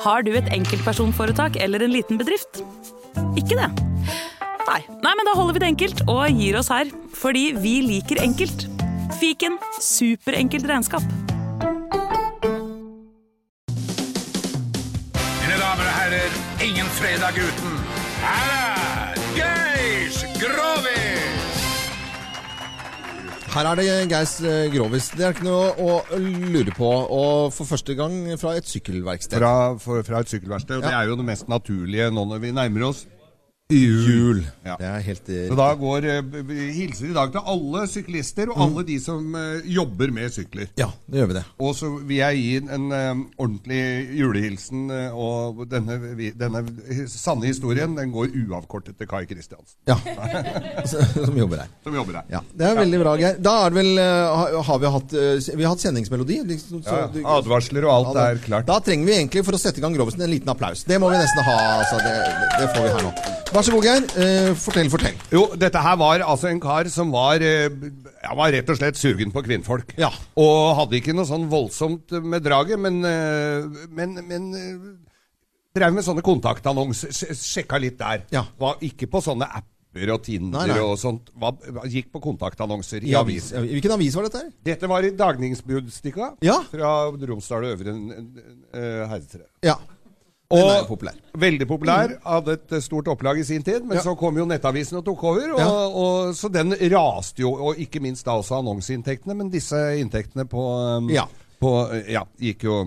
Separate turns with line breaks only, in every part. Har du et enkeltpersonforetak eller en liten bedrift? Ikke det? Nei. Nei, men da holder vi det enkelt og gir oss her. Fordi vi liker enkelt. Fiken superenkelt regnskap.
Mine damer og herrer, ingen fredag uten. Her er Geir Grovis!
Her er det Geis eh, Grovis. Det er ikke noe å lure på. Og for første gang fra et sykkelverksted.
fra, for, fra et sykkelverksted. Og det er jo det mest naturlige nå når vi nærmer oss jul. Ja.
Det er helt eh,
Så da går eh, b- b- hilser i dag til alle syklister og alle de som eh, jobber med sykler.
Ja, da gjør vi det.
Og så vil jeg gi en eh, ordentlig julehilsen, eh, og denne, vi- denne sanne historien den går uavkortet til Kai Kristiansen,
Ja. Som jobber her.
som jobber her.
Ja, Det er veldig bra, Geir. Da er det vel eh, ha- Har vi hatt eh, Vi har hatt kjenningsmelodi? Liksom, så
Ja,
du-
Advarsler og alt er klart.
Da trenger vi egentlig, for å sette i gang Grovesen, en liten applaus. Det må vi nesten ha. Altså, det, det får vi her nå. Vær så god, Geir. Eh, fortell, fortell.
Jo, dette her var altså en kar som var, eh, ja, var rett og slett sugen på kvinnfolk.
Ja.
Og hadde ikke noe sånn voldsomt med draget, men, eh, men, men eh, drev med sånne kontaktannonser. sj- Sjekka litt der.
Ja.
Var ikke på sånne apper og Tinder
Nei, nei.
og sånt. Var, gikk på kontaktannonser i, aviser.
Hvilken avis var dette her?
Dette var i Dagningsbudstikka
Ja.
fra Romsdal og Øvre uh, Herretre.
Ja. Den er populær.
Veldig populær. Hadde et eh, stort opplag i sin tid, men
Mm. Ja.
så kom jo Nettavisen og tok over. Og,
Ja.
og, så den raste jo, og ikke minst da også annonseinntektene. Men disse inntektene på, um,
Ja.
på uh, Ja, gikk jo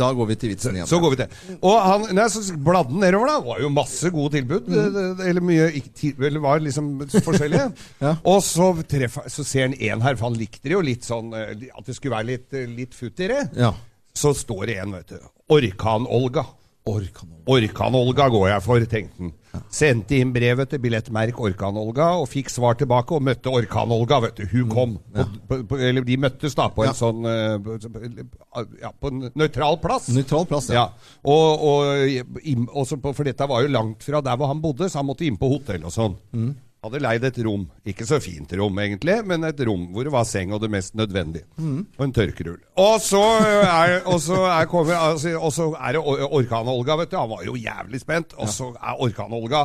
Da går vi til vitsen igjen.
Så går vi til. Og han nei, så bladde den nedover, da. Det var jo masse gode
Mm.
tilbud. det- det- Eller mye ikke ti- Eller var liksom forskjellige.
Ja.
Og så, treffer, så ser han en her, for han likte det jo litt sånn eh, At det skulle være litt, eh, litt futt i det.
Ja.
Så står det en, vet du. Orkan-Olga.
Orkanon.
Orkan-Olga går jeg for, tenkte han. Sendte inn brevet til billettmerk Orkan-Olga, og fikk svar tilbake, og møtte Orkan-Olga, vet du. Hun kom. På, på, eller de møttes da på
Mm, Ja.
en sånn eh, ja, På en nøytral plass.
Nøytral plass,
ja.
ja.
Og, og, im- også på, for dette var jo langt fra der hvor han bodde, så han måtte inn på hotell og sånn.
Mm.
Hadde leid et rom. Ikke så fint rom, egentlig, men et rom hvor det var seng og det mest nødvendige.
Mm.
Og en tørkerull. Og så er, og så er, kommer, altså, og så er det Or- Orkan-Olga, vet du. Han var jo jævlig spent. Og så er Orkan-Olga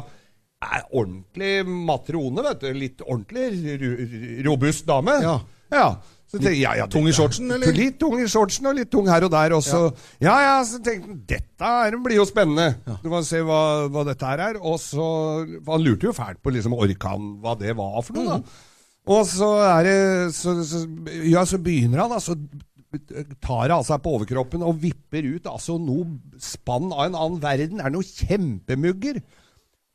er ordentlig matrone, vet du. Litt ordentlig ru- robust dame.
Ja.
ja. Så tenker jeg, ja, ja,
Tung i
dette-
shortsen, eller?
Litt tung i shortsen og litt tung her og der også. Ja, ja, så tenkte han dette her blir jo spennende. Du må se hva, hva dette her er. Og så Han lurte jo fælt på liksom orkan, hva det var for noe,
Mm.
da. Og så er det så, så, Ja, så begynner han, da. Så tar han av seg på overkroppen og vipper ut altså noe spann av en annen verden. Er det noe kjempemugger?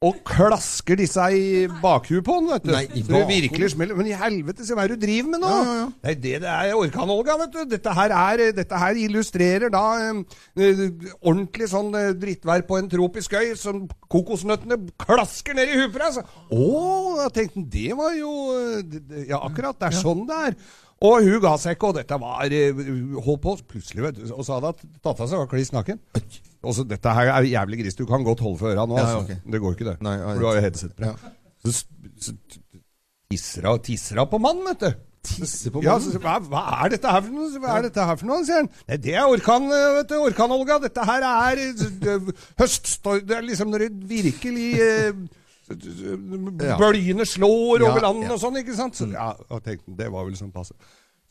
Og klasker disse i bakhuet på han, vet du.
Nei, i
så det
bakhodet.
virkelig smeller. Men i helvete, se hva er det du driver med nå?
Ja, ja, ja.
Nei, det, det er Orkan-Olga, vet du. Dette her, er, dette her illustrerer da em, eh, ordentlig sånn eh, drittvær på en tropisk øy som kokosnøttene klasker ned i huet på deg. så. Å, jeg tenkte det var jo eh, det- det- Ja, akkurat. Det er sånn det er. Og hun ga seg ikke, og dette var eh, Holdt på plutselig, vet du. Og så hadde hun tatt av seg og var kliss naken. Og så dette her er jævlig gris. Du kan godt holde for øra nå,
Ja,
altså.
ok.
Det går ikke, det.
Nei, ja,
for du har jo headset på.
Ja.
Så, s- så t- tisser hun- tisser hun på mannen, vet du.
Tisser på
Ja,
mannen?
så, hva, hva er dette her for noe? Hva er dette her for noe, sier han. Nei, det er orkan, eh, vet du. Orkan-Olga. Dette her er eh, det- høststorm Det er liksom når det virkelig eh,
Ja.
Bølgene slår
Ja,
over landet
ja.
og sånn, ikke sant? Så, ja, og tenkte, det var vel sånn passe.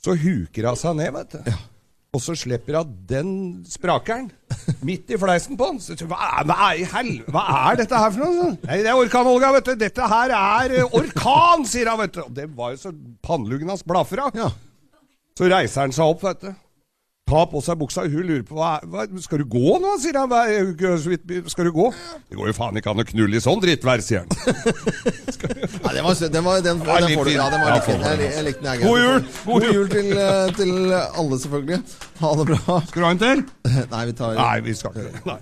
Så huker hun seg ned, vet du. Og så slipper hun den sprakeren midt i fleisen på den. Så, så, hva, er, hva, er, i hel- hva er dette her for noe? sånn? Nei, det er orkan, Olga, vet du. Dette her er eh, orkan, sier hun, vet du. Og det var jo så panneluggen hans blaffer av.
Ja.
Så reiser han seg opp, vet du. Tar på seg buksa, hun lurer på hva, er- hva Skal du gå nå, sier han. Hva er- så vidt- Skal du gå? Det går jo faen ikke an å knulle i sånn drittvær, sier han.
Nei, den var søt. Den, var, den, den,
var litt
får du.
fin.
Ja, den var
Ja,
litt
får
fin.
du.
Jeg, lik- jeg likte den. jeg, Geir.
God jul!
God jul til, eh, til alle, selvfølgelig. Ha det bra.
Skal du ha en til?
Nei, vi tar
Nei, vi skal ikke det. Nei.